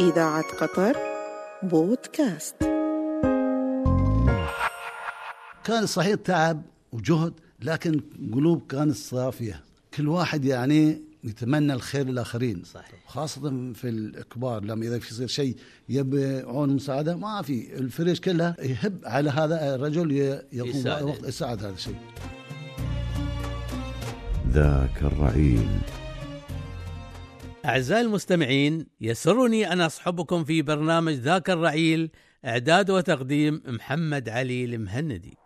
إذاعة قطر بودكاست كان صحيح تعب وجهد لكن قلوب كانت صافية كل واحد يعني يتمنى الخير للآخرين صحيح. خاصة في الكبار لما إذا في يصير شيء يبيعون مساعدة ما في الفريش كلها يهب على هذا الرجل ي- يقوم يساعده. وقت يساعد هذا الشيء ذاك الرعيل أعزائي المستمعين يسرني أن أصحبكم في برنامج ذاك الرعيل إعداد وتقديم محمد علي المهندي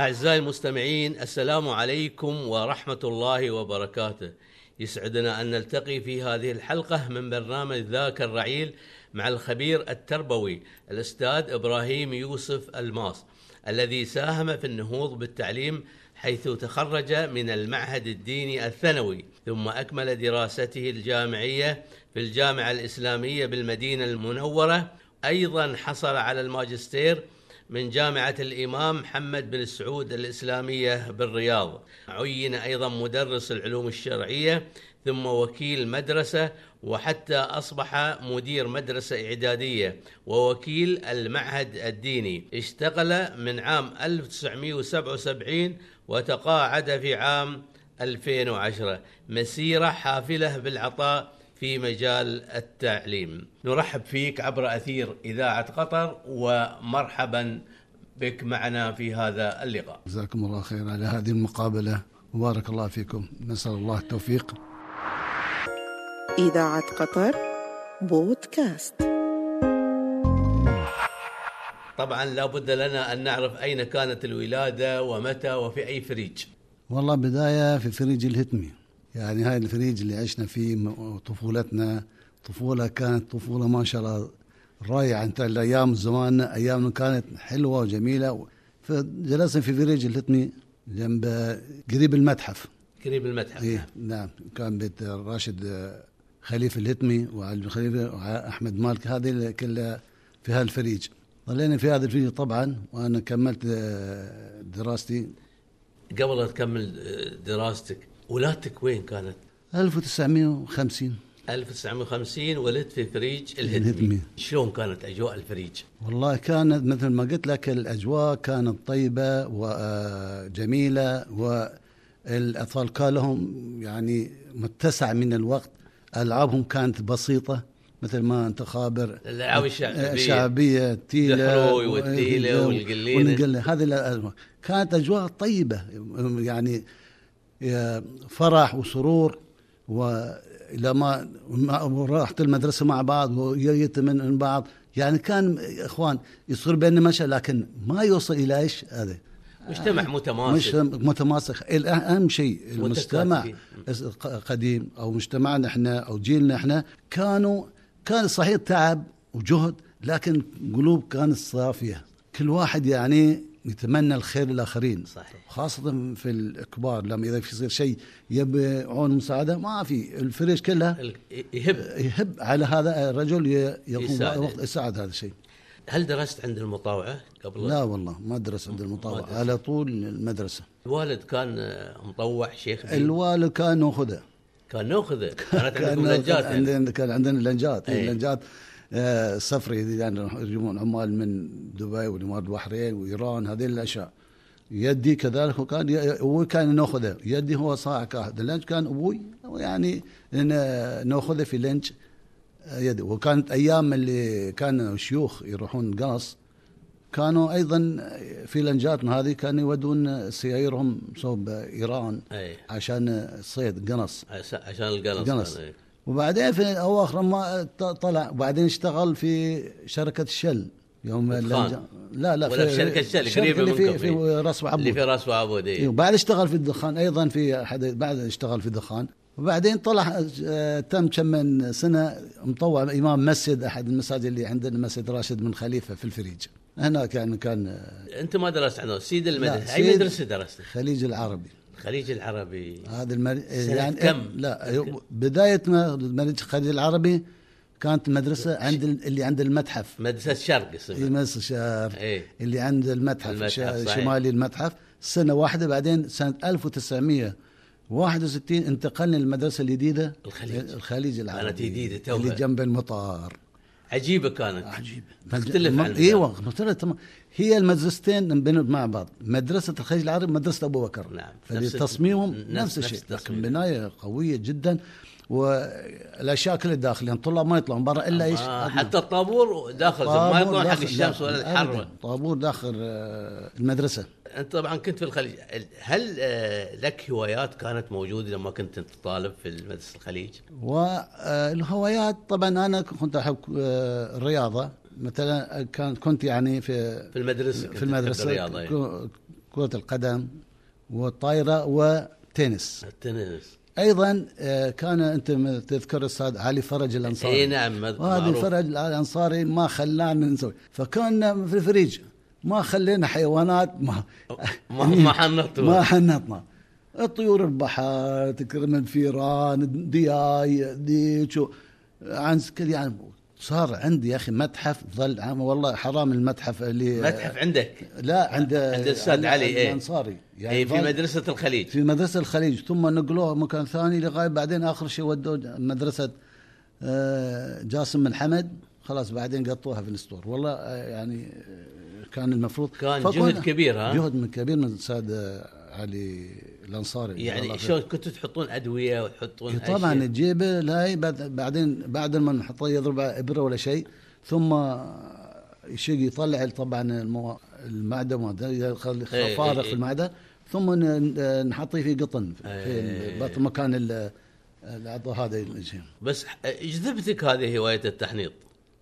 أعزائي المستمعين السلام عليكم ورحمة الله وبركاته يسعدنا أن نلتقي في هذه الحلقة من برنامج ذاك الرعيل مع الخبير التربوي الأستاذ إبراهيم يوسف الماس الذي ساهم في النهوض بالتعليم حيث تخرج من المعهد الديني الثانوي ثم أكمل دراسته الجامعية في الجامعة الإسلامية بالمدينة المنورة أيضا حصل على الماجستير من جامعة الإمام محمد بن سعود الإسلامية بالرياض عين أيضا مدرس العلوم الشرعية ثم وكيل مدرسة وحتى أصبح مدير مدرسة إعدادية ووكيل المعهد الديني اشتغل من عام 1977 وتقاعد في عام 2010 مسيرة حافلة بالعطاء في مجال التعليم نرحب فيك عبر أثير إذاعة قطر ومرحبا بك معنا في هذا اللقاء جزاكم الله خير على هذه المقابلة وبارك الله فيكم نسأل الله التوفيق إذاعة قطر بودكاست طبعا لا بد لنا أن نعرف أين كانت الولادة ومتى وفي أي فريج والله بداية في فريج الهتمي يعني هاي الفريج اللي عشنا فيه م- طفولتنا طفولة كانت طفولة ما شاء الله رائعة انت الأيام زمان أيام كانت حلوة وجميلة فجلسنا في فريج الهتمي جنب قريب المتحف قريب المتحف ايه نعم كان بيت راشد آه، خليفه الهتمي وعلي خليفه واحمد مالك هذه اللي كلها في هالفريج ظلينا في هذا الفريج طبعا وانا كملت آه، دراستي قبل لا تكمل آه، دراستك ولادتك وين كانت 1950 1950 ولدت في فريج الهدمي الهدمي. شلون كانت أجواء الفريج والله كانت مثل ما قلت لك الاجواء كانت آه، طيبه وجميله والاطفال كان لهم يعني متسع من الوقت العابهم كانت بسيطه مثل ما انت خابر الألعاب الشعبية. الشعبيه التيله الدحروي والتيلة والقلينة. والقلينة. هذه الأجواء. كانت اجواء طيبه يعني فرح وسرور ولما ما- رحت المدرسة مع بعض وجيت من بعض يعني كان إخوان يصير بيننا مشى لكن ما يوصل إلى إيش هذا آه، مجتمع مش متماسك متماسك الأ- أهم شيء المجتمع متكاتفين. قديم أو مجتمعنا إحنا أو جيلنا إحنا كانوا كان صحيح تعب وجهد لكن قلوب كانت صافية كل واحد يعني يتمنى الخير للآخرين صحيح خاصة في الكبار لما إذا يصير شيء يبيعون مساعدة ما في الفريش كلها ال- يهب يهب على هذا الرجل ي- يساعده. يقوم وقت يساعد هذا الشيء هل درست عند المطاوعة قبل لا والله ما درس عند ما درس. المطاوعة على طول المدرسة الوالد كان آه، مطوع شيخ دين. الوالد كان ناخذه كان ناخذه كانت كان عندكم لجات يعني. عندنا كان عندنا لنجات إيه. اللنجات آه، صفري يعني يجيبون عمال من دبي والامارات البحرين وايران هذه الاشياء يدي كذلك وكان ي- ابوي كان ناخذه يدي هو صاع كاهد اللنج كان ابوي يعني إن- ناخذه في لنج آه، يدي وكانت ايام اللي كانوا شيوخ يروحون قص كانوا ايضا في لنجاتنا هذه كانوا يودون سيايرهم صوب ايران أي. عشان الصيد قنص عس- إيه. عشان القلص قنص كان، إيه. وبعدين في اواخر ما ط- طلع وبعدين اشتغل في شركه الشل يوم بتخان. اللنجة- لا لا ولا في شركة الشل الشركة قريبة اللي منكم في, في إيه. راس اللي وعبود في راس وعبود إيه. وبعد اشتغل في الدخان ايضا في حد بعد اشتغل في الدخان وبعدين طلع آه، تم كم من سنه مطوع امام مسجد احد المساجد اللي عندنا مسجد راشد بن خليفه في الفريج هناك يعني كان آه، انت ما درست عنده سيد المدرسه لا، اي سيد- مدرسه درست الخليج العربي الخليج العربي هذا المر... سنة يعني كم؟ لا بدايه ما المريج الخليج العربي كانت مدرسه عند ال- اللي عند المتحف مدرسه شرق اسمها في مصر شهر إيه. اللي عند المتحف, المتحف، المتحف صحيح. شمالي المتحف سنه واحده بعدين سنه 1991 61 انتقلنا للمدرسه الجديده الخليج. الخليج العربي كانت جديدة توها. اللي جنب المطار عجيبه كانت عجيب مختلف عن ايوه مختلف تمام هي المدرستين انبنوا مع بعض مدرسه الخليج العربي ومدرسه ابو بكر نعم. نفس فتصميمهم الت- نفس, نفس نفس- نفس الشيء التصميم. لكن بنايه قويه جدا والاشياء كلها داخليا الطلاب ما يطلعون برا الا ايش؟ آه أدنى. حتى الطابور داخل طابور ما يطلعون حق داخل- الشمس ولا داخل- الحر أبداً. طابور داخل آه، المدرسه انت طبعا كنت في الخليج هل آه، لك هوايات كانت موجوده لما كنت انت طالب في مدرسه الخليج؟ والهوايات طبعا انا كنت احب آه، الرياضه مثلا كان كنت يعني في في المدرسه كنت في تحب المدرسه الرياضه يعني. كو- كره القدم والطايره وتنس التنس ايضا آه، كان انت م- تذكر استاذ علي فرج الانصاري اي نعم مذ- وهذا معروف. فرج الانصاري ما خلانا نسوي فكنا في الفريج ما خلينا حيوانات ما ما ما حنطوا إيه. ما حنطنا طيور البحر تكرم الفيران دياي ديك و- عن كل يعني صار عندي يا اخي متحف ظل عام والله حرام المتحف اللي متحف عندك لا عند عند الأستاذ علي، إيه. الانصاري يعني في ظل- مدرسه الخليج في مدرسه الخليج ثم نقلوه مكان ثاني لغايه بعدين اخر شيء ودوه مدرسه آه، جاسم بن حمد خلاص بعدين قطوها في الاسطور والله آه، يعني آه، كان المفروض كان فكنا- جهد كبير، ها؟ جهد من كبير من الاستاذ آه، علي الانصاري الله يعني خير. شلون كنتوا تحطون ادويه وتحطون إيه طبعا أشياء؟ تجيبه لا بعد- بعدين بعد ما نحطه يضرب ابره ولا شيء ثم يشق يطلع طبعا المو... المعده ما أدري، يخلي إيه، إيه، فارغ إيه. في المعده ثم ن- ن- نحطيه في قطن إيه. في بطن مكان ال- العضو هذا الشيء. بس ح- جذبتك هذه هوايه التحنيط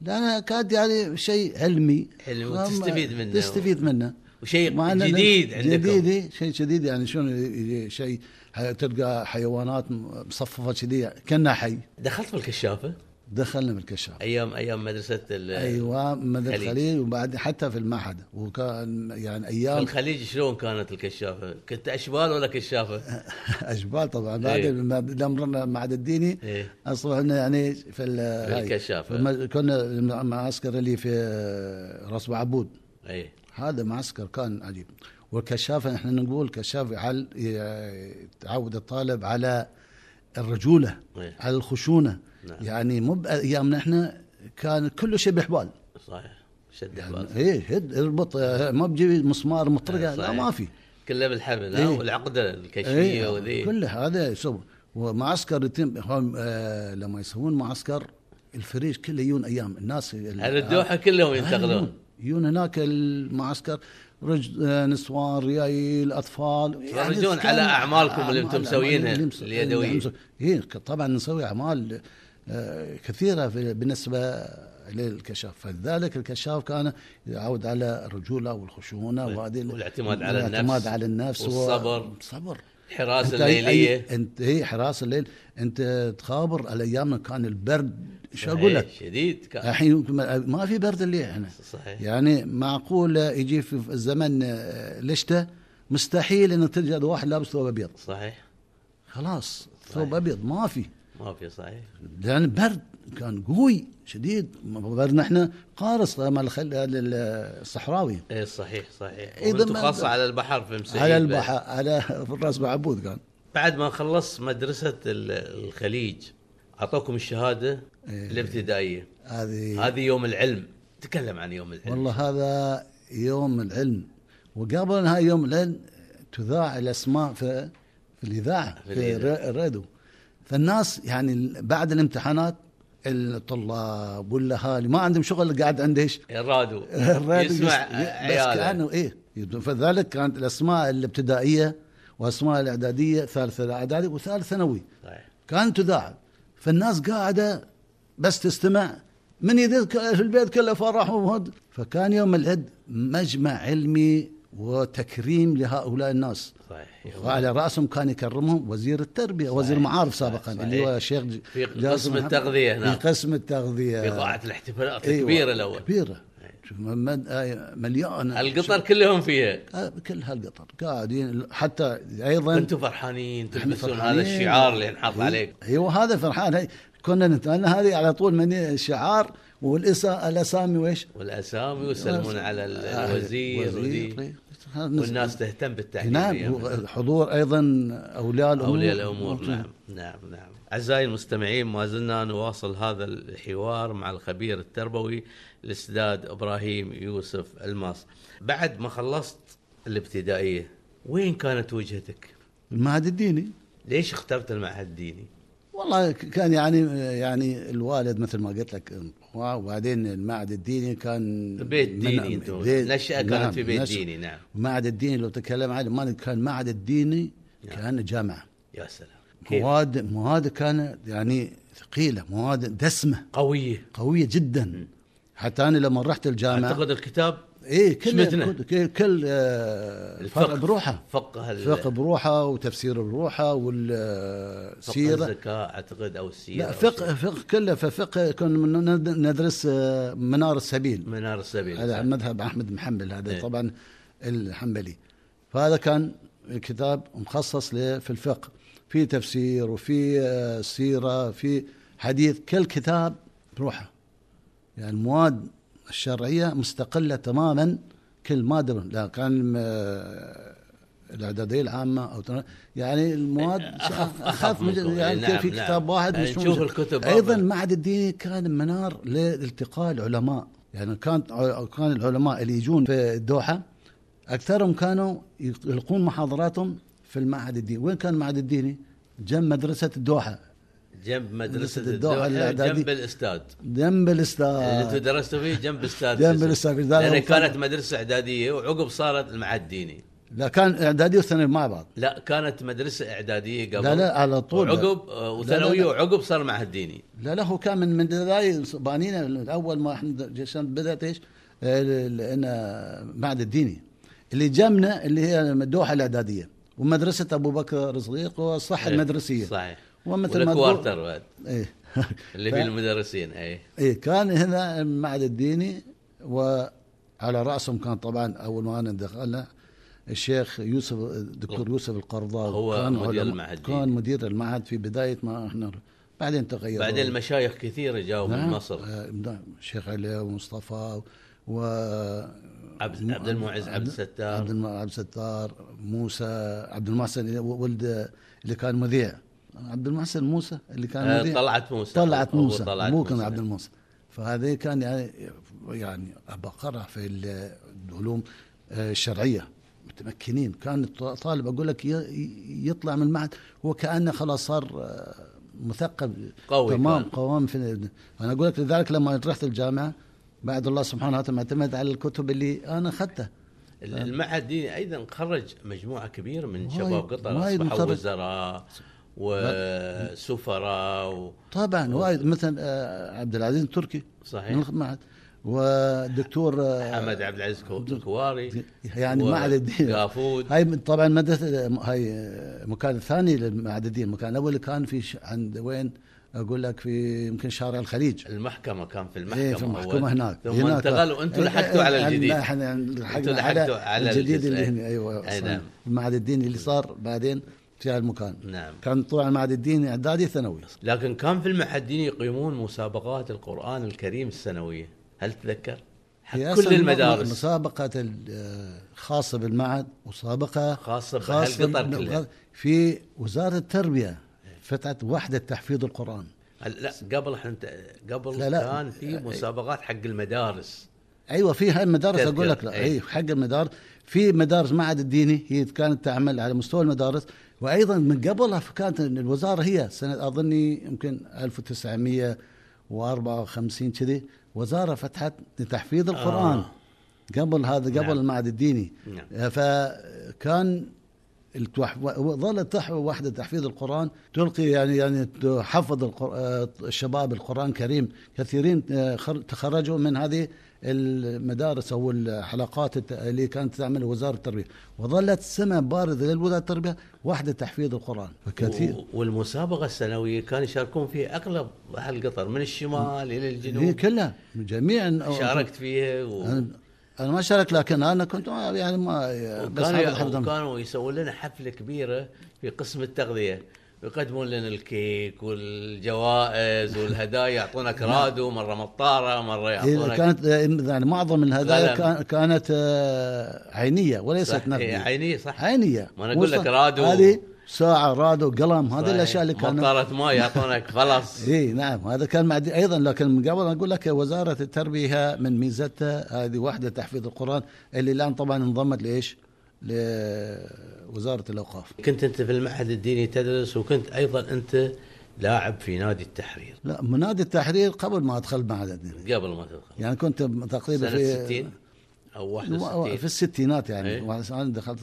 لا أنا كاد يعني شيء علمي حلو، فما- تستفيد منه. تستفيد منه وشيء مع أن- جديد عندكم. جديد شيء جديد يعني شلون ي- ي- شيء ح- تلقى حيوانات مصففه كذي كانها حي دخلت في الكشافه دخلنا بالكشاف ايام ايام مدرسه ال- آه، ايوه مدى الخليج. الخليج وبعد حتى في المعهد وكان يعني في ايام الخليج شلون كانت الكشافه؟ كنت اشبال ولا كشافه؟ اشبال طبعا إيه. بعدين لما- لما رحنا المعهد الديني إيه. اصبحنا يعني في ال- هاي. الكشافة. فما- كنا المعسكر اللي في راس عبود اي هذا معسكر كان عجيب والكشافه نحن نقول كشاف على تعود الطالب على الرجوله إيه. على الخشونه نعم. يعني مو بايامنا احنا كان كل شيء بحبال صحيح شد يعني حبال ايه هد اربط آه، ما بجيب مسمار مطرقه آه، صحيح. لا ما في كله بالحبل إيه. ها والعقده الكشفيه ايه وذي كل هذا يسوي ومعسكر يتم هم آه لما يسوون معسكر الفريج كله يجون ايام الناس ال- على الدوحه كلهم ينتقلون آه، يجون هناك المعسكر رج... آه، نسوان ريايل اطفال يفرجون كان- على أعمالكم اللي أنتم أعمال- مسوينها اللي مس- اليدوية. اللي مس- إيه، ك- طبعا نسوي اعمال آه، كثيره في بالنسبه للكشاف فلذلك الكشاف كان يعود على الرجوله والخشونه وهذه ال- والاعتماد على النفس الاعتماد على النفس و- والصبر. صبر الحراسه أنت أي- الليليه أي- انت هي حراسه الليل انت تخابر الايام كان البرد شو اقول صحيح، لك إيه، آه. شديد كان الحين يمكن ما- ما في برد الليل هنا صحيح يعني معقول يجي في الزمن الشتاء مستحيل انك تلقى واحد لابس ثوب ابيض صحيح خلاص طيب. ثوب ابيض ما في ما في صحيح لان برد كان قوي شديد برد احنا قارص مال الخل- الصحراوي اي إيه، صحيح صحيح إذا وانتم ما- خاصه على البحر في مسعيد على بعد. البحر على في الراس بعبود كان بعد ما خلصت مدرسه ال- الخليج اعطوكم الشهاده إيه. الابتدائيه هذه هذه يوم العلم تكلم عن يوم العلم إيه. والله هذا يوم العلم وقبل نهاية يوم العلم تذاع الاسماء في في الاذاعه في في, الإذاعة. الر- الراديو فالناس يعني ال- بعد الامتحانات الطلاب والاهالي ما عندهم شغل قاعد عنده ايش؟ الرادو الراديو إيه، يسمع يس- بس عياله كانوا ايه فذلك كانت الاسماء الابتدائيه واسماء الاعداديه ثالث اعدادي وثالث ثانوي صحيح. كانت تذاع فالناس قاعده بس تستمع من يذك في البيت كله فرح وهد فكان يوم العيد مجمع علمي وتكريم لهؤلاء الناس صحيح وعلى راسهم كان يكرمهم وزير التربيه صحيح. وزير المعارف سابقا صحيح. اللي هو الشيخ ج- في جاسم قسم محمد. التغذية هناك. في قسم التغذيه في قاعه الاحتفالات أيوة، الكبيره الاول كبيره إيه. شوف مد- آه، مليانه القطر كلهم فيها آه، كل هالقطر قاعدين حتى ايضا انتم فرحانين احنا تلبسون فرحانين. هذا الشعار اللي انحط إيه، عليك ايوه هذا فرحان هي. كنا نتمنى هذه على طول من الشعار والاسا الاسامي وايش؟ والاسامي ويسلمون على ال- الوزير آه، وزير. إيه. طيب. وذي. والناس تهتم بالتعليم نعم أيام و- حضور ايضا اولياء الامور أولياء الأمور نعم نعم نعم أعزائي المستمعين ما زلنا نواصل هذا الحوار مع الخبير التربوي الأستاذ إبراهيم يوسف الماس بعد ما خلصت الابتدائية وين كانت وجهتك؟ المعهد الديني ليش اخترت المعهد الديني؟ والله كان يعني يعني الوالد مثل ما قلت لك وبعدين المعهد الديني كان بيت من- ديني أنت بيت- نشأة نعم، كانت في بيت نشأة. ديني نعم المعهد الديني لو تكلم عنه ما كان المعهد الديني نعم. كان جامعه يا سلام كيف؟ مواد مواد كانت يعني ثقيله مواد دسمه قوية قويه جدا حتى انا لما رحت الجامعه أعتقد الكتاب ايه كل شمتنا. كل, كل آه، فرق بروحه فقه ال- فقه بروحه وتفسير بروحه فقه والسيره الزكاة أعتقد أو السيرة لا أو فقه شيء. فقه كله ففقه كنا ند- ندرس آه، منار السبيل منار السبيل هذا مذهب احمد محمد إيه. هذا طبعا الحنبلي فهذا كان كتاب مخصص ل- في الفقه في تفسير وفي آه، سيره في حديث كل كتاب بروحه يعني المواد الشرعيه مستقله تماما كل ماده لا كان آه، الاعداديه العامه او تنا- يعني المواد أخف- أخف مج- منكم. يعني نعم، في نعم. كتاب واحد يعني مش نشوف موجود. الكتب ايضا أفضل. المعهد الديني كان منار لالتقاء العلماء يعني كان كان العلماء اللي يجون في الدوحه اكثرهم كانوا يلقون محاضراتهم في المعهد الديني وين كان المعهد الديني جنب مدرسه الدوحه جنب مدرسة مدرسة الدوحة إيه، الدوحة الإعدادية. جنب الاستاد جنب اللي انتم الاستاذ درستوا فيه جنب استاد جنب فيصل. الأستاذ فيصل. لان وكان- كانت مدرسه اعداديه وعقب صارت المعهد الديني لا كان اعدادي وثانوي مع بعض لا كانت مدرسه اعداديه قبل لا لا على طول وعقب آه، وثانويه لا. وعقب صار معهد ديني لا لا هو كان من من البدايه بانينا من اول ما احنا جشان بدات ايش؟ لان معهد الديني اللي جنبنا اللي هي الدوحه الاعداديه ومدرسه ابو بكر الصديق والصحه المدرسيه إيه، صحيح ومثل ما تقول- والكوارتر بعد ايه اللي ف- في المدرسين إيه. اي ايه كان هنا المعهد الديني وعلى راسهم كان طبعا اول ما انا دخلنا الشيخ يوسف الدكتور يوسف القرضاوي هو كان مدير علماء- المعهد الديني. كان مدير المعهد في بدايه ما احنا بعدين تغير بعدين المشايخ كثيره جاوا من نعم. مصر آه، نعم الشيخ علي ومصطفى و عبد- عبد المعز، عبد الستار. عبد الم- عبد الستار موسى عبد المحسن ولد اللي كان مذيع عبد المحسن موسى اللي كان آه، مذيع طلعت موسى طلعت هو موسى طلعت مو كان موسى. عبد المحسن فهذه كان يعني يعني بقرة في ال- العلوم آه، الشرعيه متمكنين كان الطالب اقول لك ي- يطلع من المعهد هو كانه خلاص صار آه، مثقف قوي تمام كان. قوام في انا اقول لك لذلك لما رحت الجامعه بعد الله سبحانه وتعالى معتمد على الكتب اللي انا اخذتها ال- المعهد الديني ايضا خرج مجموعه كبيره من وايد- شباب قطر وايد اصبحوا مخرج. وزراء وسفراء و... طبعا وايد مثلا آه، عبد العزيز التركي صحيح. من المعهد ودكتور آه، حمد عبد العزيز كو- الكواري يعني معهد الدين قافود هاي طبعا مدرسه هاي آه، مكان ثاني لمعهد الدين المكان الاول كان في ش- عند وين اقول لك في يمكن شارع الخليج المحكمه كان في المحكمه, ايه في أول. المحكمه هناك ثم هناك انتقل وانتم إيه، لحقتوا على إيه، الجديد احنا لحقنا لحقتوا على, على الجديد الجديد، اللي إيه. هنا ايوه أي صحيح. نعم. المعهد الديني اللي صار بعدين في هالمكان نعم كان طبعا المعهد الديني اعدادي ثانوي لكن كان في المعهد الديني يقيمون مسابقات القران الكريم السنويه هل تتذكر؟ حق هي كل أصلاً المدارس مسابقه ال- آه، خاصه بالمعهد وسابقه خاصة بهالقطر بال- كلها. في وزاره التربيه فتحت وحده تحفيظ القران هل- لا قبل احنا قبل لا، لا. كان في مسابقات حق المدارس ايوه في هاي المدارس تذكر. اقول لك لا أي. اي حق المدارس في مدارس معهد الديني هي كانت تعمل على مستوى المدارس وايضا من قبلها كانت الوزاره هي سنه اظني يمكن 1954 كذي وزاره فتحت لتحفيظ القران آه. آه. قبل هذا قبل نعم. نعم. المعهد الديني نعم. آه، فكان التوح... و- ظلت تح... وحده تحفيظ القران تلقي يعني يعني تحفظ القر... آه، الشباب القران الكريم كثيرين آه، خر- تخرجوا من هذه المدارس او الحلقات الت- اللي كانت تعمل وزاره التربيه وظلت سمه بارزه للوزاره التربيه وحده تحفيظ القران فكثير و- والمسابقه السنويه كان يشاركون فيها اغلب اهل قطر من الشمال الى هي الجنوب كلها جميعا شاركت فيها و... انا أنا ما شاركت لكن انا كنت يعني ما بس هذا وكانوا الحفظ- كانوا يسوون لنا حفله كبيره في قسم التغذيه يقدمون لنا الكيك والجوائز والهدايا يعطونا كرادو مره مطاره مره إذا يعطونك نعم. إيه، كانت آه، يعني معظم الهدايا قلم. كان- كانت آه، عينيه وليست صح، إيه، نقديه عيني صح عينيه ما أنا أقول مو لك صح. رادو. هذه ساعه رادو قلم هذه صحيح. الاشياء اللي كانت مطاره ماي يعطونك خلاص اي نعم هذا كان معدي ايضا لكن من قبل أنا اقول لك وزاره التربيه من ميزتها هذه واحده تحفيظ القران اللي الان طبعا انضمت لايش؟ لوزاره الاوقاف كنت انت في المعهد الديني تدرس وكنت ايضا انت لاعب في نادي التحرير لا منادي التحرير قبل ما ادخل معهد الدين قبل ما تدخل يعني كنت تقريبا سنه في 60 او في 61 الستينات يعني إيه. واحد- انا دخلت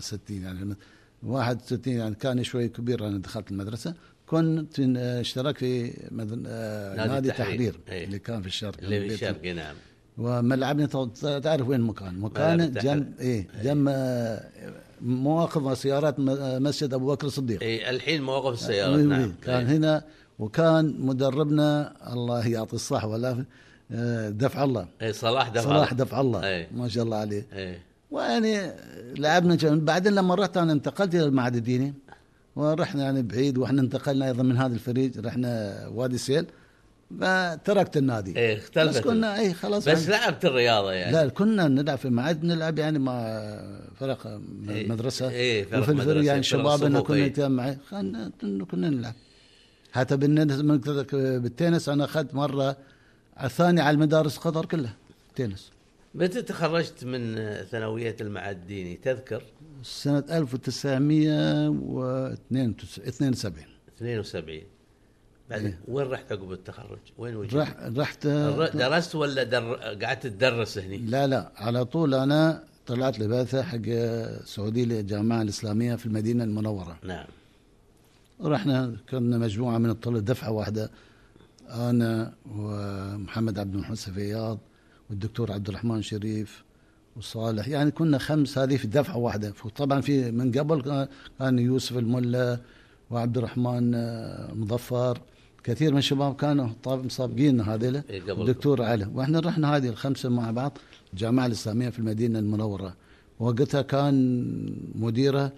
60 يعني 61 يعني كان شوي كبير انا دخلت المدرسه كنت آه، اشتركت في مدن... آه، نادي نادي التحرير. التحرير إيه. اللي كان في الشرق اللي في البيت- الشرق نعم وملعبنا تو- تعرف وين مكان مكان التحرير. إيه. جنب ايه جنب آه، مواقف سيارات م- آه، مسجد ابو بكر الصديق اي الحين مواقف السيارات وي- وي. إيه، نعم آه، كان إيه. هنا وكان مدربنا الله يعطي الصحه والعافيه آه، دفع الله اي صلاح دفع إيه. صلاح دفع الله نعم. اي ما شاء الله عليه اي ويعني لعبنا جم... بعدين لما رحت انا انتقلت الى المعهد الديني ورحنا يعني بعيد واحنا انتقلنا ايضا من هذا الفريق رحنا وادي سيل فتركت النادي إيه، اختلفت بس كنا اي خلاص بس يعني- لعبت الرياضه يعني لا كنا نلعب في معاد نلعب يعني مع فرق م- إيه، مدرسه إيه، فرق وفي الفريق مدرسة، يعني فرق شبابنا الصفوف، كنا إيه. نتجمع كنا كنا نلعب حتى بالنس- من- بالتنس انا اخذت مره الثاني على المدارس قطر كلها تنس متى تخرجت من ثانويه المعهد الديني تذكر سنة 1972 72 بعدين وين رحت عقب التخرج؟ وين وجدت؟ رح إيه. رحت الر- درست ولا در... قعدت تدرس هني؟ لا لا على طول أنا طلعت لبعثة حق السعودية للجامعة الإسلامية في المدينة المنورة نعم رحنا كنا مجموعة من الطلاب دفعة واحدة أنا ومحمد عبد المحسن فياض والدكتور عبد الرحمن شريف وصالح يعني كنا خمس هذه في دفعة واحدة طبعا في من قبل كان- كان يوسف الملا وعبد الرحمن آه، مظفر كثير من الشباب كانوا طاب مسابقين هذيلا إيه، قبل. الدكتور علي واحنا رحنا هذه الخمسة مع بعض الجامعة الإسلامية في المدينة المنورة وقتها كان مديره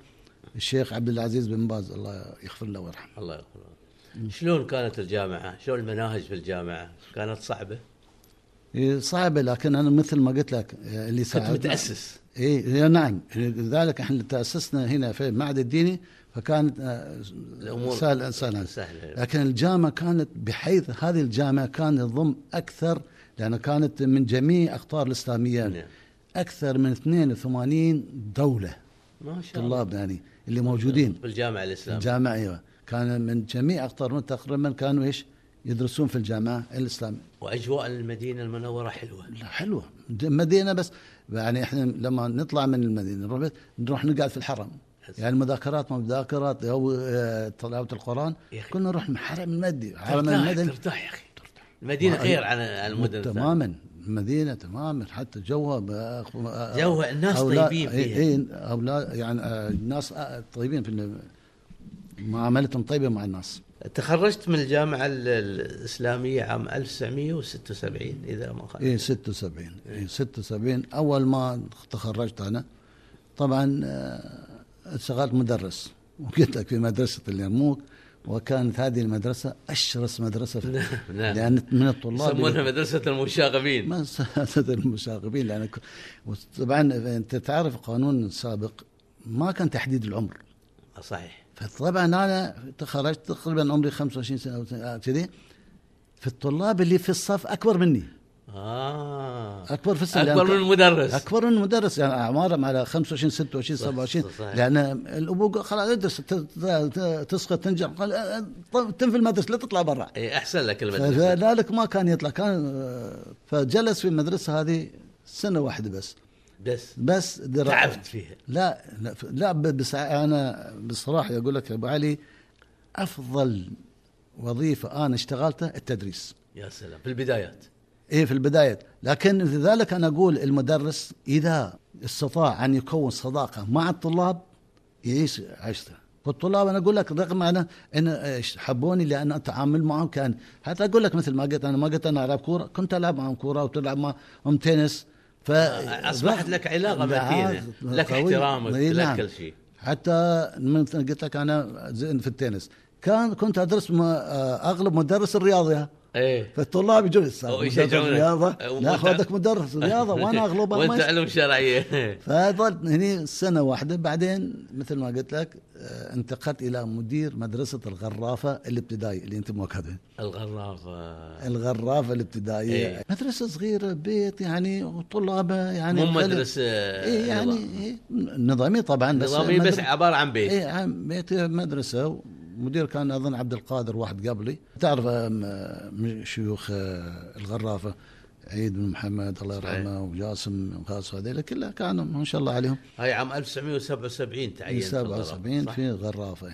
الشيخ عبد العزيز بن باز الله يغفر له ويرحمه الله يغفر له. شلون كانت الجامعه؟ شلون المناهج في الجامعه؟ كانت صعبه؟ إيه، صعبة لكن أنا مثل ما قلت لك آه، اللي كنت ساعدنا متاسس إيه نعم لذلك إحنا تأسسنا هنا في المعهد الديني فكانت الأمور الأمور سهلة سهلة سهله لكن الجامعة كانت بحيث هذه الجامعة كان تضم أكثر لأنها كانت من جميع أقطار الإسلامية نعم. أكثر من 82 دولة ما شاء الله طلاب يعني اللي موجودين بالجامعه الاسلاميه الجامعة أيوة كان من جميع أقطار تقريبا كانوا إيش يدرسون في الجامعة الإسلامية واجواء المدينه المنوره حلوه لا حلوه مدينه بس يعني احنا لما نطلع من المدينه نروح نروح نقعد في الحرم يعني مذاكرات ما مذاكرات او آه، تلاوه القران يا أخي. طيب، كنا نروح الحرم المدي حرم ترتاح المدني ترتاح يا اخي المدينه ما- غير عن عن المدن الثانيه تماما المدينه تماما حتى جوها ب- آه، جوها الناس أولا- طيبين فيها. إيه إيه، أولا يعني آه، الناس آه، طيبين في ال- معاملتهم طيبه مع الناس تخرجت من الجامعه ال- الاسلاميه عام 1976 اذا ما خاب اي 76 اي 76 اول ما تخرجت انا طبعا آه، اشتغلت مدرس وقلت لك في مدرسه اليرموك وكانت هذه المدرسه اشرس مدرسه في نعم. لان من الطلاب يسمونها اللي- مدرسه المشاغبين ما سألت المشاغبين لان ك- طبعا انت تعرف قانون سابق ما كان تحديد العمر صحيح فطبعا انا تخرجت تقريبا عمري 25 سنه أو سنة- آه، كذي في الطلاب اللي في الصف اكبر مني اه اكبر في السن اكبر لأن من كان- المدرس اكبر من المدرس يعني اعمارهم على 25 26 صح، 27 صحيح. لان الابو خلاص ادرس ت- ت- ت- تسقط تنجح قال، أه، أه، طب تنفي المدرسه لا تطلع برا اي احسن إيه، لك المدرسه فذلك ما كان يطلع كان آه، فجلس في المدرسه هذه سنه واحده بس بس بس درا- تعبت فيها لا لا, ف- لا ب- بس انا بصراحه اقول لك يا ابو علي افضل وظيفه انا اشتغلتها التدريس يا سلام في البدايات ايه في البدايه لكن لذلك انا اقول المدرس اذا استطاع ان يكون صداقه مع الطلاب يعيش عشته والطلاب انا اقول لك رغم انا ان إيش حبوني لان اتعامل معهم كان حتى اقول لك مثل ما قلت انا ما قلت انا العب كوره كنت العب معهم كوره وتلعب معهم تنس ف اصبحت آه، لك علاقه لا، متينه لك قوي. احترامك إيه، لك نعم. كل شيء حتى من قلت لك انا زين في التنس كان كنت ادرس م- آه، اغلب مدرس الرياضه إيه. ايه فالطلاب يجون السالفه أو مدرس يشجعونك. الرياضه أو لا وأنت- خذك مدرس رياضه وانا اغلبها وانت ما علوم شرعيه فظلت هني سنه واحده بعدين مثل ما قلت لك آه، انتقلت الى مدير مدرسه الغرافه الابتدائي اللي انت مؤكد الغرافه الغرافه الابتدائيه إيه. مدرسه صغيره بيت يعني وطلابها يعني مو خلي- مدرسه إيه يعني نظام. إيه نظامي طبعا بس نظامي بس مدر- عباره عن بيت اي عام بيت مدرسه مدير كان اظن عبد القادر واحد قبلي تعرف أم، من شيوخ أه، الغرافه عيد بن محمد الله صحيح. يرحمه وجاسم وخاص هذيلا كلها كانوا ما شاء الله عليهم هاي عام 1977 تعين في في الغرفة، 77 صح؟ في غرافه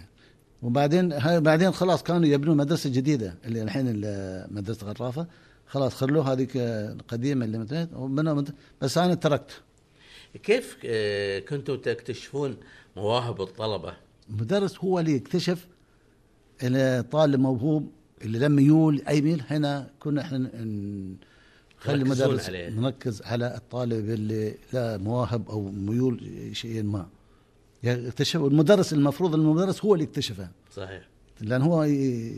وبعدين هاي بعدين خلاص كانوا يبنون مدرسه جديده اللي الحين ال- مدرسه غرافه خلاص خلوها هذيك أه، القديمه اللي مثلت وبنوا مد- بس انا تركت كيف آه، كنتم تكتشفون مواهب الطلبه؟ المدرس هو اللي يكتشف الطالب موهوب اللي لما يول اي ميل هنا كنا احنا ن- نخلي تركزون المدرس عليه. نركز على الطالب اللي له مواهب او ميول شيء ما يكتشف المدرس المفروض المدرس هو اللي اكتشفه صحيح لان هو ي-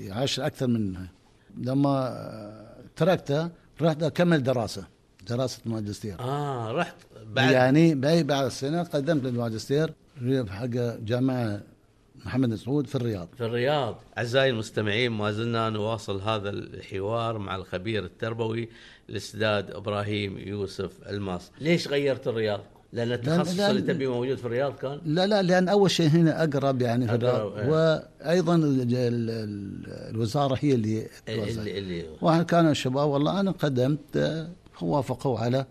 يعاش اكثر منها لما تركته رحت اكمل دراسه دراسه ماجستير اه رحت بعد بعد يعني باي بعد السنه قدمت للماجستير حق جامعه محمد سعود في الرياض في الرياض أعزائي المستمعين ما زلنا نواصل هذا الحوار مع الخبير التربوي الأستاذ إبراهيم يوسف الماس ليش غيرت الرياض؟ لأن التخصص لأن- اللي تبيه موجود في الرياض كان لا لا لان اول شيء هنا اقرب يعني في الرياض أقرب، إيه. وايضا ال- ال- ال- الوزاره هي اللي توزع. إيه، اللي, اللي واحنا كان الشباب والله انا قدمت آه، وافقوا على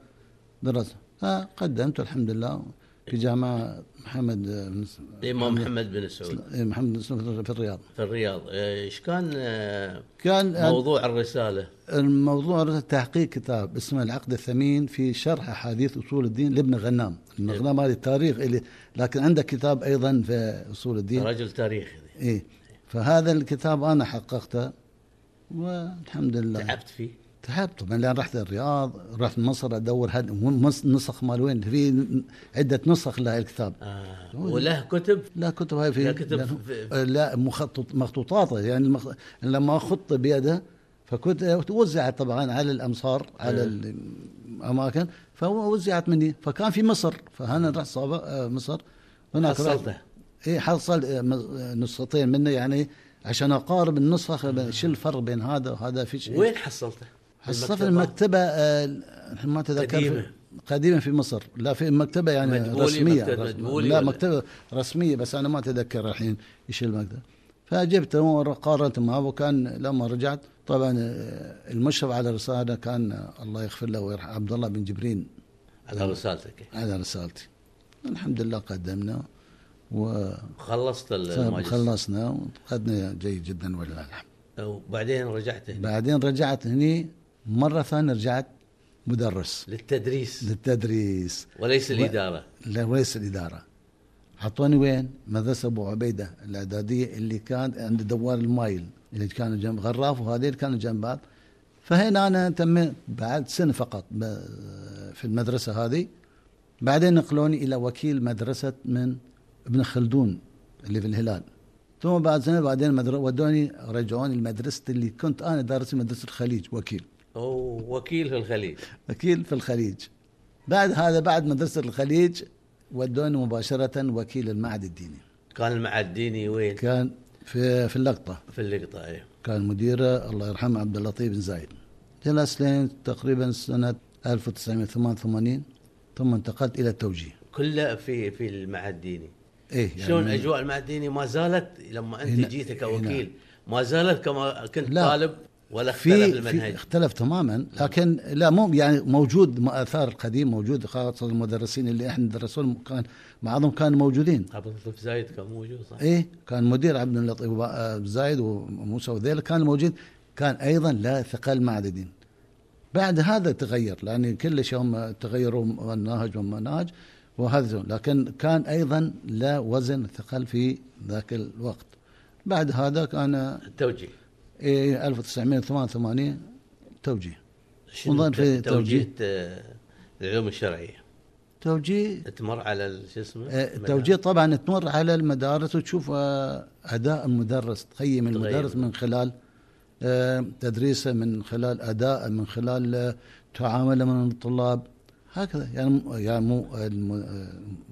دراسه فقدمت الحمد لله في جامعه محمد آه، بن س- الإمام محمد بن سعود إيه، محمد بن سعود في الرياض في الرياض آه، إيش كان آه، كان آه، موضوع الرسالة؟ الموضوع تحقيق كتاب اسمه العقد الثمين في شرح احاديث اصول الدين لابن غنام، ابن إيه. غنام هذا التاريخ اللي لكن عنده كتاب ايضا في اصول الدين رجل تاريخي اي فهذا الكتاب انا حققته والحمد لله تعبت فيه تعبت طبعا لان رحت الرياض رحت مصر ادور هاد مص- نسخ مال وين في عده نسخ لهذا الكتاب آه. وله كتب لا كتب هاي في لا كتب لأنه- في- آه، لا مخطط مخطوطاته يعني المخ... لما خط بيده فكنت آه، وزعت طبعا على الامصار على إيه. الاماكن فوزعت مني فكان في مصر فانا رحت صابة آه، مصر حصلته. اي حصل آه، مز- آه، نسختين منه يعني عشان اقارب النسخ آه، شو الفرق بين هذا وهذا في شيء وين إيه. حصلته؟ حصلت في المكتبه آه، ما تذكر قديمة. قديمه في مصر لا في مكتبه يعني مدبولي، رسميه مكتبة رسم- مدبولي لا ولا؟ مكتبه رسميه بس انا ما اتذكر الحين ايش المكتبه فجبته وقارنت معه وكان لما رجعت طبعا آه، المشرف على الرساله كان آه، الله يغفر له ويرحمه عبد الله بن جبرين على رسالتك على رسالتي الحمد لله قدمنا و خلصت الماجستير خلصنا وقدنا جيد جدا ولله الحمد وبعدين رجعت هنا بعدين رجعت هني مره ثانيه رجعت مدرس للتدريس للتدريس وليس الإدارة لا وليس الإدارة حطوني وين مدرسة أبو عبيدة الإعدادية اللي كان عند دوار المايل اللي كانوا جنب غراف وهذيل كانوا جنب بعض فهنا أنا تميت بعد سنة فقط ب- في المدرسة هذه بعدين نقلوني إلى وكيل مدرسة من ابن خلدون اللي في الهلال ثم بعد سنة بعدين مدر- ودوني رجعوني المدرسة اللي كنت أنا دارس مدرسة الخليج وكيل أو وكيل في الخليج وكيل في الخليج بعد هذا بعد مدرسة الخليج ودوني مباشرة وكيل المعهد الديني كان المعهد الديني وين؟ كان في في اللقطة في اللقطة أيوة. كان مديره الله يرحمه عبد اللطيف بن زايد جلس لين تقريبا سنة 1988 ثم انتقلت إلى التوجيه كله في في المعهد الديني إيه يعني شلون من- أجواء المعهد الديني ما زالت لما أنت هنا- جيت هنا. كوكيل ما زالت كما كنت لا. طالب ولا اختلف في, في المنهج اختلف تماما لكن لا مو يعني موجود ما- آثار القديم موجود خاصة المدرسين اللي احنا درسوهم كان بعضهم كانوا موجودين عبد اللطيف زايد كان موجود صح؟ ايه كان مدير عبد اللطيف وبا- زايد وموسى وذيل كان موجود كان ايضا لا ثقل معددين بعد هذا تغير لان كل شيء هم تغيروا مناهج ومناهج وهذا لكن كان ايضا لا وزن ثقل في ذاك الوقت بعد هذا كان التوجيه إيه 1988 توجيه شنو والله في توجيه آه، العلوم الشرعية توجيه تمر على ال- شو اسمه آه، التوجيه طبعا تمر على المدارس وتشوف آه، اداء المدرس تقيم المدرس من خلال آه، تدريسه من خلال اداءه من خلال آه، تعامله من الطلاب هكذا يعني يعني مو- الم-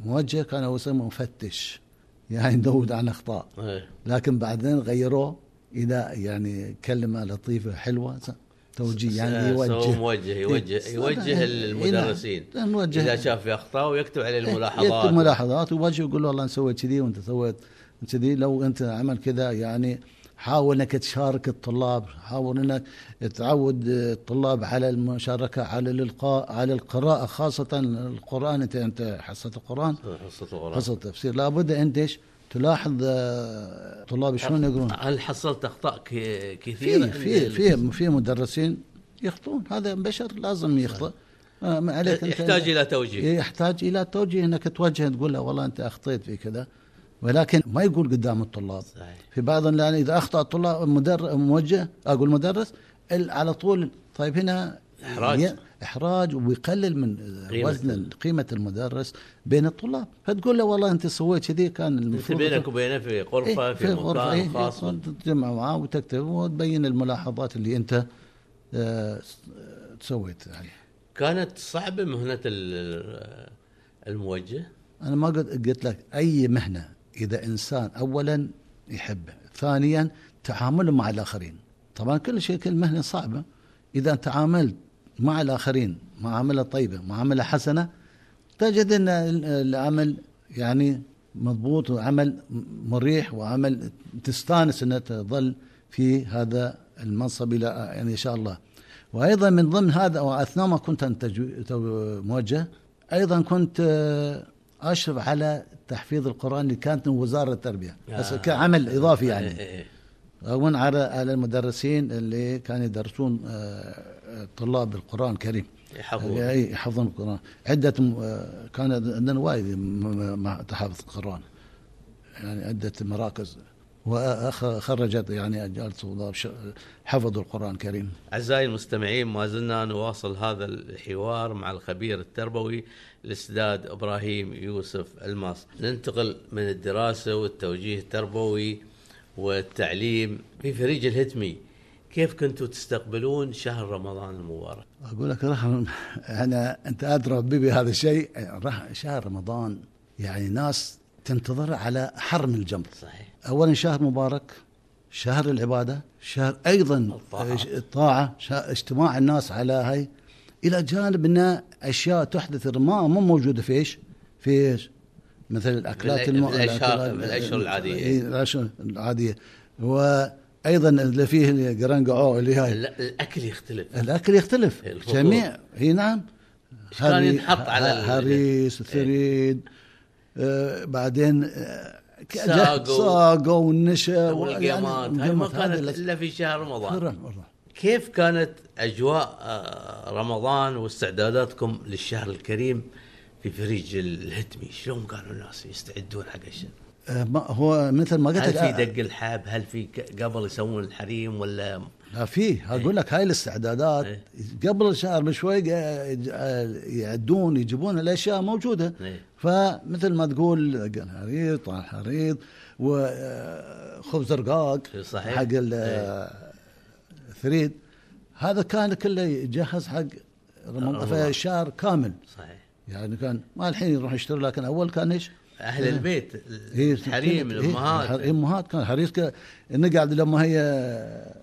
الموجه كان هو يسمى مفتش يعني يدور عن اخطاء إيه. لكن بعدين غيروه الى يعني كلمه لطيفه حلوه س- توجيه يعني آه، سو يوجه موجه يوجه إيه، يوجه إيه، المدرسين إيه، نوجه. اذا شاف في اخطاء ويكتب عليه يكتب الملاحظات ملاحظات ويواجه يقول له والله انا سويت كذي وانت سويت كذي لو انت عمل كذا يعني حاول انك تشارك الطلاب حاول انك تعود الطلاب على المشاركه على الالقاء على القراءه خاصه القران انت انت حصه القران حصه القران حصه التفسير لابد انت ايش تلاحظ آه، الطلاب شلون يقرون هل حصلت اخطاء ك- كثيره في في في في مدرسين يخطئون هذا بشر لازم يخطئ آه، ما عليك أنت- يحتاج الى توجيه إيه، يحتاج الى توجيه انك توجه تقول له والله انت اخطيت في كذا ولكن ما يقول قدام الطلاب صحيح. في بعض لان اذا اخطا الطلاب مدر موجه اقول مدرس ال- على طول طيب هنا إحراج. ي- احراج ويقلل من قيمة. وزن ال- قيمه المدرس بين الطلاب فتقول له والله انت سويت كذي كان انت المفروض بينك وبينه في غرفه إيه، في غرفة، إيه، مكان خاص تجمع معاه وتكتب وتبين الملاحظات اللي انت آه، س- سويت يعني. كانت صعبه مهنه ال- الموجه انا ما قلت قلت لك اي مهنه اذا انسان اولا يحبه، ثانيا تعامله مع الاخرين. طبعا كل شيء كل مهنه صعبه اذا تعاملت مع الاخرين معامله طيبه، معامله حسنه تجد ان ال- العمل يعني مضبوط وعمل مريح وعمل تستانس ان تظل في هذا المنصب الى يعني ان شاء الله. وايضا من ضمن هذا واثناء ما كنت أنت جو- تو- موجه ايضا كنت آه، اشرف على تحفيظ القران اللي كانت من وزاره التربيه بس آه. كعمل اضافي إيه، يعني إيه. رغم على على المدرسين اللي كانوا يدرسون آه، طلاب القران الكريم يحفظون اي يحفظون القران عده م- آه، كان عندنا وايد م- م- مع تحافظ القران يعني عده مراكز وخرجت يعني اجيال طلاب ش- حفظوا القران الكريم أعزائي المستمعين ما زلنا نواصل هذا الحوار مع الخبير التربوي الأستاذ إبراهيم يوسف الماس ننتقل من الدراسة والتوجيه التربوي والتعليم في فريج الهتمي كيف كنتوا تستقبلون شهر رمضان المبارك؟ اقول لك رحم انا انت ادرى ببي هذا الشيء رح- شهر رمضان يعني ناس تنتظر على حر من الجمر صحيح اولا شهر مبارك شهر العباده شهر ايضا الطاعة. الطاعه شهر اجتماع الناس على هاي الى جانب ان اشياء تحدث ما مو موجوده في ايش؟ في ايش؟ مثل الاكلات بالأ- الم- بالأشهر- الأكلات- بالأشهر العادية. إيه، الاشهر العاديه وايضا اللي فيه القرنقعو اللي هاي لا، الأكل يختلف الاكل يختلف الفطور. جميع هي نعم إيش كان ينحط على ال- إيه. هريس ثريد آه بعدين آه ك- ساقو. ساقو والنشا يعني والقيامات هاي ما كانت إلا في شهر رمضان رمضان كيف كانت اجواء آه، رمضان واستعداداتكم للشهر الكريم في فريج الهتمي شلون كانوا الناس يستعدون حق الشهر آه ما هو مثل ما قلت هل لك في آه، دق الحاب هل في ك- قبل يسوون الحريم ولا لا في اقول لك هاي الاستعدادات إيه. قبل الشهر بشوي آه، يج- آه، يعدون يجيبون الاشياء موجوده إيه. فمثل ما تقول قال حريط طعم حريط وخبز آه، رقاق إيه، صحيح. إيه. حق ال- الثريد هذا كان كله يجهز حق رمضان رمضان. فشهر كامل صحيح يعني كان ما الحين يروح يشتري لكن اول كان ايش؟ اهل البيت آه. إيه، الحريم إيه، الامهات الحر- الامهات كان حريص ك- نقعد لما هي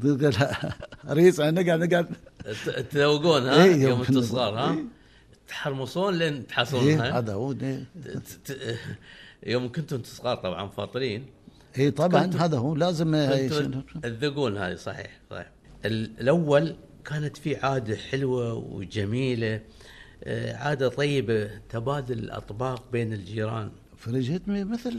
تقول حريص يعني نقعد نقعد ت- تذوقون ها إيه، يوم يوم انتم صغار إيه. ها تحرمصون لين تحصلون إيه، ها؟ هذا هو إيه. ت- ت- يوم كنتم انتم صغار طبعا فاطرين اي طبعا إيه، هذا هو لازم هاي كنتوا شنو- تذقون هذه صحيح صحيح ال- الاول كانت في عاده حلوه وجميله آه، عاده طيبه تبادل الاطباق بين الجيران فرجتني مثل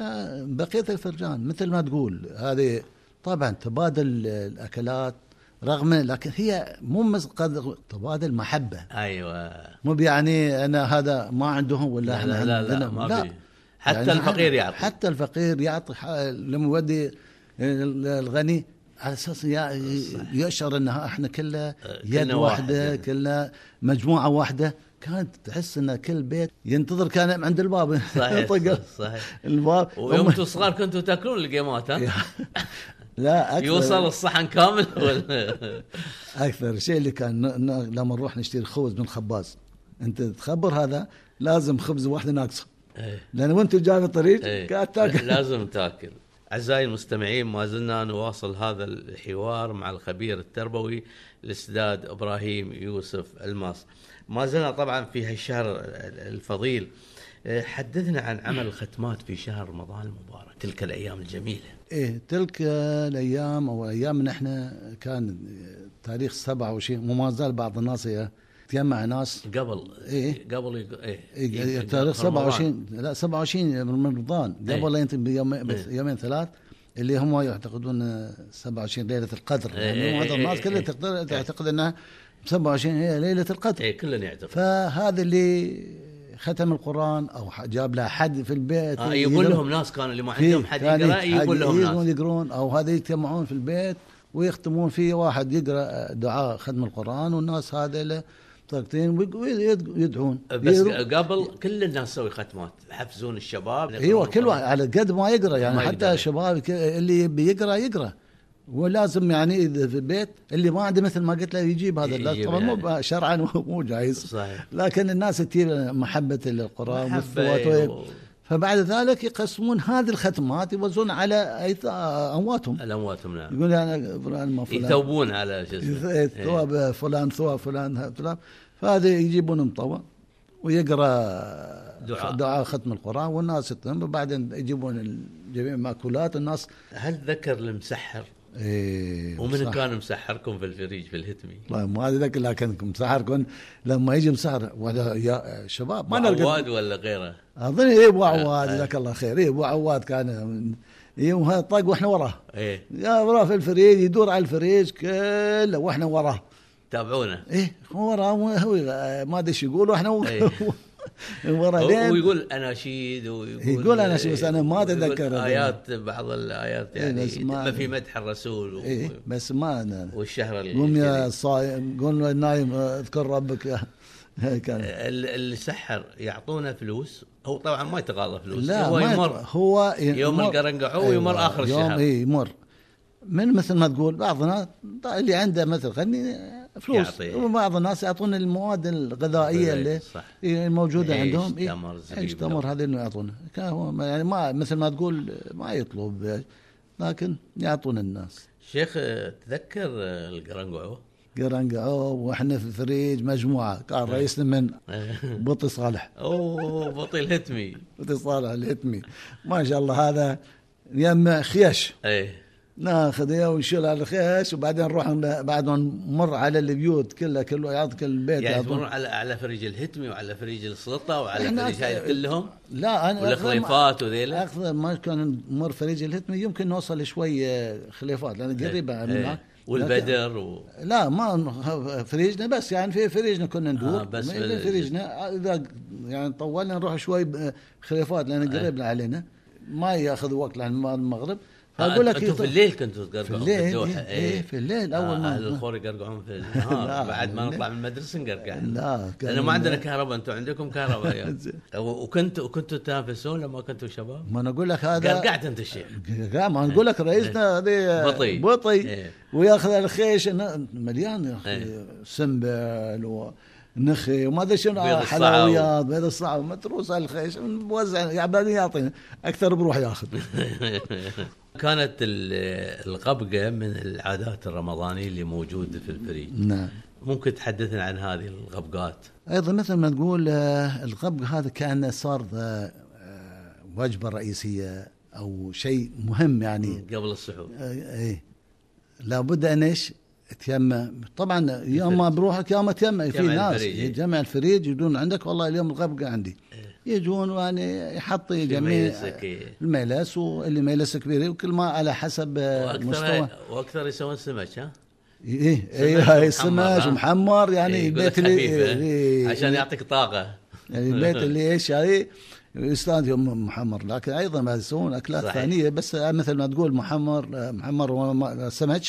بقيه الفرجان مثل ما تقول هذه طبعا تبادل الاكلات رغم لكن هي مو مس- قد تبادل محبه ايوه مو يعني انا هذا ما عندهم ولا لا احنا لا لا, عندنا لا ما في حتى يعني الفقير نحن- يعطي حتى الفقير يعطي ح- لما يودي الغني على اساس يا- يشعر انها احنا كلها يد آه، كلنا واحده واحد. يعني. كلها مجموعه واحده كانت تحس ان كل بيت ينتظر كان عند الباب صحيح ينطق صحيح الباب ويوم هم- انتم صغار كنتوا تاكلون الجيمات ها؟ لا اكثر يوصل الصحن كامل ولا اكثر شيء اللي كان ن- ن- لما نروح نشتري خبز من خباز انت تخبر هذا لازم خبز واحده ناقصه إيه. لان وانت جاي إيه. بالطريق قاعد تاكل لازم تاكل اعزائي المستمعين ما زلنا نواصل هذا الحوار مع الخبير التربوي الاستاذ ابراهيم يوسف الماس ما زلنا طبعا في هالشهر الفضيل إيه، حدثنا عن عمل الختمات في شهر رمضان المبارك تلك الايام الجميله ايه تلك الايام او ايام نحن كان تاريخ سبعة وشيء وما زال بعض الناس ي- تجمع ناس قبل إيه. قبل يق- ايه, إيه، يمكن تاريخ قبل رمضان. 27 لا 27 من رمضان إيه. قبل لا ينتهي بيوم إيه. يومين ثلاث اللي هم يعتقدون 27 ليله القدر إيه، يعني إيه، معظم إيه، الناس إيه، كلها إيه. تعتقد- تعتقد انها 27 هي ليله القدر ايه كلنا يعتقد فهذا اللي ختم القران او ح- جاب له حد في البيت آه يقول لهم ناس كانوا اللي ما عندهم حد كان يقرا يقول لهم يقرون- ناس يقرون او هذا يجتمعون في البيت ويختمون فيه واحد يقرا دعاء ختم القران والناس هذا له طاقتين ويق- ويد- يدعون بس يرو- قبل كل الناس تسوي ختمات يحفزون الشباب ايوه كل واحد على قد ما يقرا يعني ما يقدر. حتى الشباب ك- اللي يبي يقرا يقرا ولازم يعني اذا في البيت اللي ما عنده مثل ما قلت له يجيب هذا لا يجيب طبعا مو يعني. شرعا مو جايز صحيح لكن الناس تثير محبه للقران محبة، والثوات أيوة. فبعد ذلك يقسمون هذه الختمات يوزعون على أيت- امواتهم الاموات منها يقول انا فلان ما فلان نعم. يثوبون على شو اسمه إيه. يث- إيه، ثواب فلان ثواب فلان ها- فلان فهذا يجيبون مطوع ويقرا دعاء. دعاء ختم القران والناس تتم وبعدين يجيبون جميع الماكولات الناس هل ذكر المسحر إيه ومن صح. كان مسحركم في الفريج في الهتمي والله ما ادري لكن لكن مسحر كن لما يجي مسحر ولا يا شباب ما نلقى عواد ولا غيره اظن ايه ابو عواد آه. جزاك الله خير ايه ابو عواد كان ايه وهذا طاق واحنا وراه ايه يا وراه في الفريج يدور على الفريج كله واحنا وراه تابعونه ايه هو وراه مو- هو يغ- ما ادري ايش يقول واحنا إيه. ورا هو- لين ويقول اناشيد ويقول طيب. يقول أناشيد، بس أنا ما ويقول أتذكر. ايات بعض الايات إيه، يعني بس ما- ما في مدح الرسول و- ايه بس ما أنا- والشهر ال- قوم يا صايم قوم يا نايم اذكر ربك كان ال- السحر يعطونا فلوس هو طبعا ما يتغاضى فلوس لا هو ما يمر يت- هو ي- يوم يمر- أيوة، القرنقعو يمر آخر يوم الشهر. ايه يمر من مثل ما تقول بعض الناس اللي عنده مثل غني فلوس يعطيه. وبعض الناس يعطون المواد الغذائيه اللي إيه، صح. موجوده عيش، عندهم إيه، تمر، زبيب، عيش تمر هذا انه يعطونه كان هو ما- يعني ما مثل ما تقول ما يطلب لكن يعطون الناس شيخ آه، تذكر آه، القرنقعو قرنقعو واحنا في الفريج مجموعه إيه. كان رئيسنا من بطي صالح اوه بطيء الهتمي بطي صالح الهتمي ما شاء الله هذا يجمع خيش ايه ناخذ اياه ونشيل على الخيش وبعدين نروح ن- بعد ما نمر على البيوت كلها كله يعطي كل البيت يعني يعطون- تمرون على على فريج الهتمي وعلى فريج السلطه وعلى إحنا فريج هاي أك- كلهم لا انا ولا أكثر ما- خليفات وذيلا؟ اكثر ما كان نمر فريج الهتمي يمكن نوصل شوي آه، خليفات لان قريبه من هناك. إيه. والبدر و... لا ما ن- فريجنا بس يعني في فريجنا كنا ندور آه، آه بس بس في- فريجنا اذا يعني طولنا نروح شوي ب- خليفات لان إيه. قريبنا علينا ما ياخذ وقت لان ما المغرب فاقول لك إيه، انتم آه، في يط- الليل كنتوا تقرقعون في في الليل، الدوحه إيه، إيه، في الليل أول ما- اهل الخور يقرقعون في النهار لا، بعد ما لا. نطلع من المدرسه نقرقع لا، كان- لانه ما عندنا كهرباء انتم عندكم كهرباء يعني. وكنتوا وكنتوا تنافسون لما كنتوا شباب ما انا اقول لك هذا قرقعت انت الشيخ لا ما نقول لك رئيسنا هذه إيه. بطي. بطي إيه. وياخذ الخيش إنه مليان يا إيه. اخي سنبل ونخي وما ادري شنو آه، بيض الصعب. حلويات بيض الصعب متروس على الخيش موزع يعني بعدين يعطينا اكثر بروح ياخذ كانت ال- القبقه من العادات الرمضانيه اللي موجوده في الفريق نعم ممكن تحدثنا عن هذه الغبقات ايضا مثل ما تقول آه، الغبغ هذا كانه صار آه، آه، وجبه رئيسيه او شيء مهم يعني قبل السحور آه، ايه لابد ان ايش تيمم طبعا يا ما بروحك يا ما تيمم في جمع ناس الفريج، إيه. يجمع الفريج يجون عندك والله اليوم الغبقه عندي يجون يعني يحط جميع ميلسك، إيه. الميلس واللي ميلس كبير وكل ما على حسب آه، مستوى واكثر واكثر يسوون سمك ها ايه سمك ايه ومحمر، سماج ها؟ ومحمر يعني آه. إيه، يقول البيت لك اللي خفيفة، إيه، إيه، عشان يعطيك طاقه يعني البيت اللي ايش يعني الاستاذ يوم محمر لكن ايضا ما يسوون اكلات صحيح. ثانيه بس مثل ما تقول محمر محمر وسمك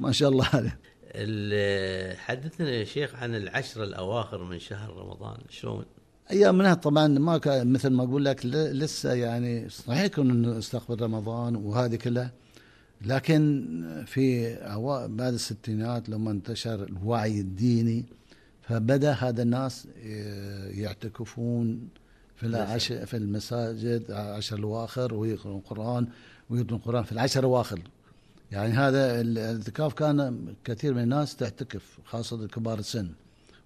ما شاء الله عليه ال- حدثنا يا شيخ عن العشر الاواخر من شهر رمضان شلون؟ ايامنا طبعا ما كان مثل ما اقول لك ل- لسه يعني صحيح كنا نستقبل رمضان وهذه كلها لكن في أوا- بعد الستينات لما انتشر الوعي الديني فبدا هذا الناس ي- يعتكفون في العشر في المساجد عشر الاواخر ويقرؤون القران ويقرؤون القران في العشر الاواخر يعني هذا ال- الاعتكاف كان كثير من الناس تعتكف خاصه كبار السن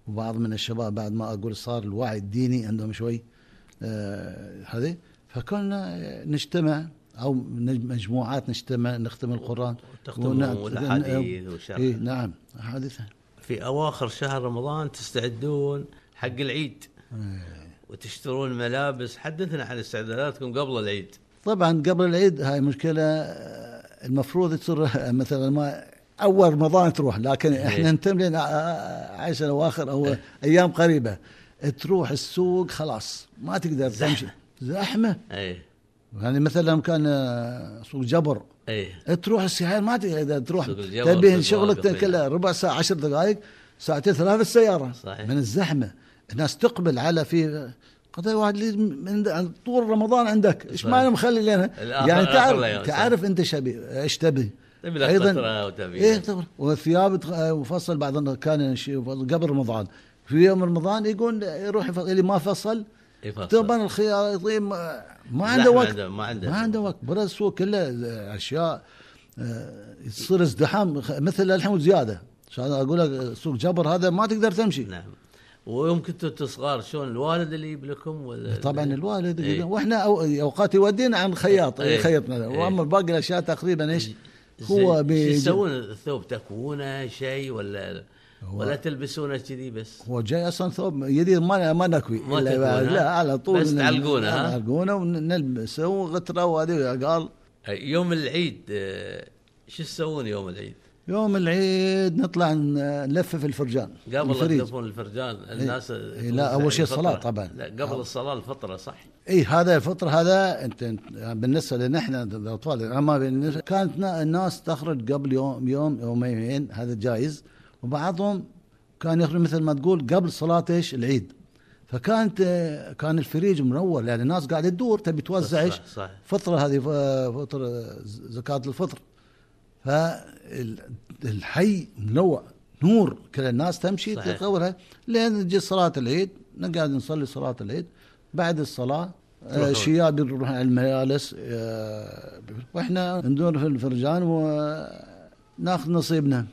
وبعض من الشباب بعد ما اقول صار الوعي الديني عندهم شوي آه، هذه فكنا نجتمع او نج- مجموعات نجتمع نختم القران تختمون والأحاديث والشرح. إيه نعم حادثه في اواخر شهر رمضان تستعدون حق العيد إيه. وتشترون ملابس حدثنا عن استعداداتكم قبل العيد طبعا قبل العيد هاي مشكله آه، المفروض تصير مثلا ما اول رمضان تروح لكن إيه. احنا ننتم لنا آه، عشر اواخر او ايام قريبه تروح السوق خلاص ما تقدر زحمة. تمشي زحمه اي يعني مثلا كان آه، سوق جبر اي إيه، تروح السياحين ما تقدر تروح سوق الجبل تبيه في شغلك المواقف كلها ربع ساعه عشر دقائق ساعتين ثلاث السياره صحيح. من الزحمه الناس تقبل على في قلت له واحد لي من عن- طول رمضان عندك ايش صحيح. معنى مخلي لنا الآخر- يعني آخر الأيام، تعرف صحيح. تعرف انت شبي ايش تبي تبي لك فترة وتبي- ايه طبعا والثياب تخ- وفصل بعض الناس كان شي- قبل رمضان في يوم رمضان يقول يروح يفصل اللي ما فصل يفصل. طبعا الخياطين ما ما زحمة عنده وقت عنده- ما عنده. ما عنده وقت برا السوق كله اشياء آه، يصير ازدحام خ- مثل الحين وزياده عشان اقول لك سوق جبر هذا ما تقدر تمشي نعم ويوم كنتوا أنتوا صغار شلون الوالد اللي يجيب لكم ولا طبعا الوالد إيه. يقول- واحنا أو- اوقات يودينا عن خياط إيه. يخيطنا إيه. واما باقي الاشياء تقريبا ايش زين، هو شو بيجي- تسوون الثوب تكوونه شيء ولا هو- ولا تلبسونه كذي بس هو جاي اصلا ثوب جديد ما ما نكوي ما إلا تكوي، ها؟ لا على طول بس نل- تعلقونه، ها؟ نعلقونه ونلبسه وغتره وهذه قال يوم العيد آه، شو تسوون يوم العيد؟ يوم العيد نطلع ن- نلفف الفرجان قبل لا الفريج. تلفون الفرجان الناس إيه، لا، أول شيء الفطرة. الصلاة طبعاً. آه. لا قبل الصلاه الفطره صح؟ اي إيه، هذا الفطر هذا انت أنت- بالنسبه لنا احنا الاطفال اما بالنسبة- كانت نا- الناس تخرج قبل يوم يوم يومين هذا جائز وبعضهم كان يخرج مثل ما تقول قبل صلاه ايش العيد فكانت آه، كان الفريج منور يعني الناس قاعده تدور تبي توزع صح- ايش صح. فطره هذه ف- فطر آه، ز- زكاه الفطر فالحي ملوع نور كل الناس تمشي صحيح. تتصورها لين تجي صلاه العيد نقعد نصلي صلاه العيد بعد الصلاه تروحون. آه، شياب نروح على المجالس آه، واحنا ندور في الفرجان وناخذ نصيبنا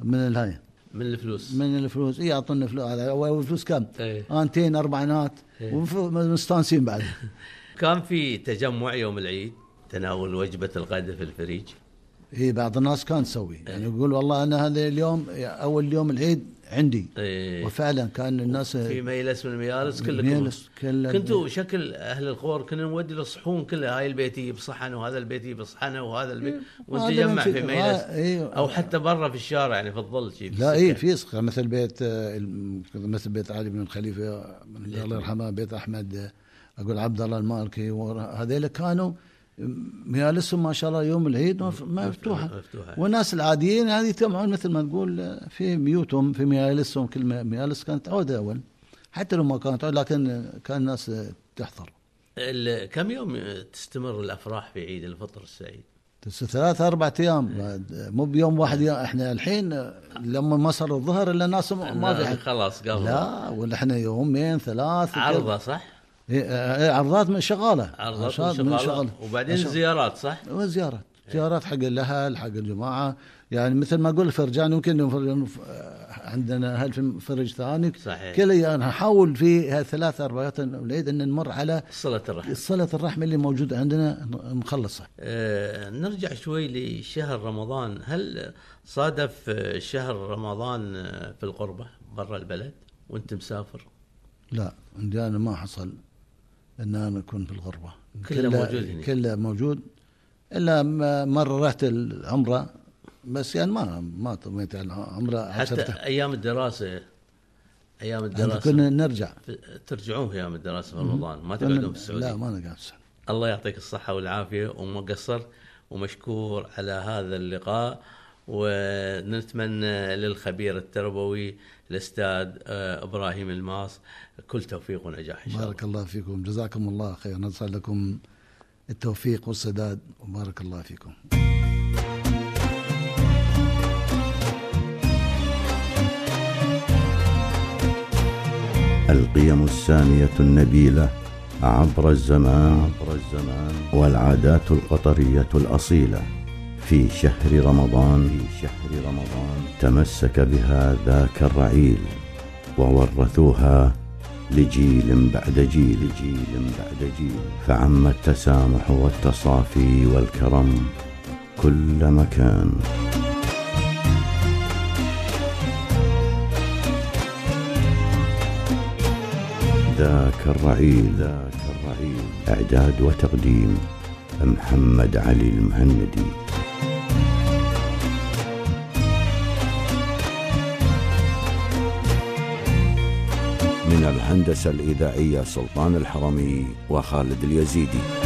من الهاي من الفلوس من الفلوس إيه، يعطونا فلوس هذا أول فلوس كم؟ إيه. انتين اربعينات إيه. ومستانسين بعد كان في تجمع يوم العيد تناول وجبه الغداء في الفريج اي إيه، بعض الناس كان تسوي يعني يقول والله انا هذا اليوم اول يوم العيد عندي إيه. وفعلا كان الناس في مجلس من المجالس كلكم مجلس كله- كنتوا شكل اهل الخور كنا نودي الصحون كلها هاي البيت يجيب صحن وهذا البيت يجيب صحنه وهذا البيت هذا ونتجمع ما في في- مجلس آه، إيه. او حتى برا في الشارع يعني في الظل شي لا إيه، اي في صخر مثل بيت آه، الم- مثل بيت علي بن خليفه من إيه. الله يرحمه بيت احمد آه، اقول عبد الله المالكي ورا- هذيلا كانوا مجالسهم ما شاء الله يوم العيد مف- مفتوحه مفتوحة. والناس العاديين هذه يتجمعون مثل ما تقول آه، في بيوتهم في مجالسهم كل م- مجالس كانت عوده اول حتى لو ما كانت عوده لكن آه، كان الناس آه، تحضر ال- كم يوم تستمر الافراح في عيد الفطر السعيد؟ بس ثلاث اربع إيه. ايام آه، مو بيوم واحد يا- احنا الحين آه، لما ما صار الظهر الا الناس آه، ما في حد آه، خلاص قبل لا ولا احنا يومين ثلاث عرضه صح؟ إيه، إيه، عرضات من شغاله عرضات عرضات من وشغالات شغاله وبعدين إيه. عشان- زيارات صح؟ وزيارات زيارات حق الاهل حق الجماعه يعني مثل ما اقول فرجان يمكن نفرج- عندنا اهل في فرج ثاني صحيح. كل يعني نحاول في هالثلاث اربعات العيد ان نمر على صلة الرحم صله الرحم اللي موجوده عندنا ن- نخلصها آه، نرجع شوي لشهر رمضان هل صادف آه، شهر رمضان آه، في القربة برا البلد وانت مسافر لا عندي انا ما حصل ان انا اكون في الغربه كله موجود هنا. كله موجود الا ما- مره رحت العمره بس يعني ما ما طميت على العمره حتى عشرة- ايام الدراسة ايام احنا الدراسه كنا نرجع ترجعون في ايام الدراسه في رمضان ما كنا- تقعدون في لا السعوديه ما نقعد في السعودية. الله يعطيك الصحه والعافيه وما قصرت ومشكور على هذا اللقاء ونتمنى للخبير التربوي الاستاذ آه، ابراهيم الماس كل توفيق ونجاح ان شاء الله بارك الله فيكم جزاكم الله خير نسأل لكم التوفيق والسداد وبارك الله فيكم القيم السامية النبيلة عبر الزمان عبر الزمان والعادات القطرية الأصيلة في شهر رمضان في شهر رمضان تمسك بها ذاك الرعيل وورثوها لجيل بعد جيل جيل بعد جيل فعم التسامح والتصافي والكرم كل مكان ذاك الرعيل ذاك الرعيل إعداد وتقديم محمد علي المهندي من الهندسة الإذاعية سلطان الحرمي وخالد اليزيدي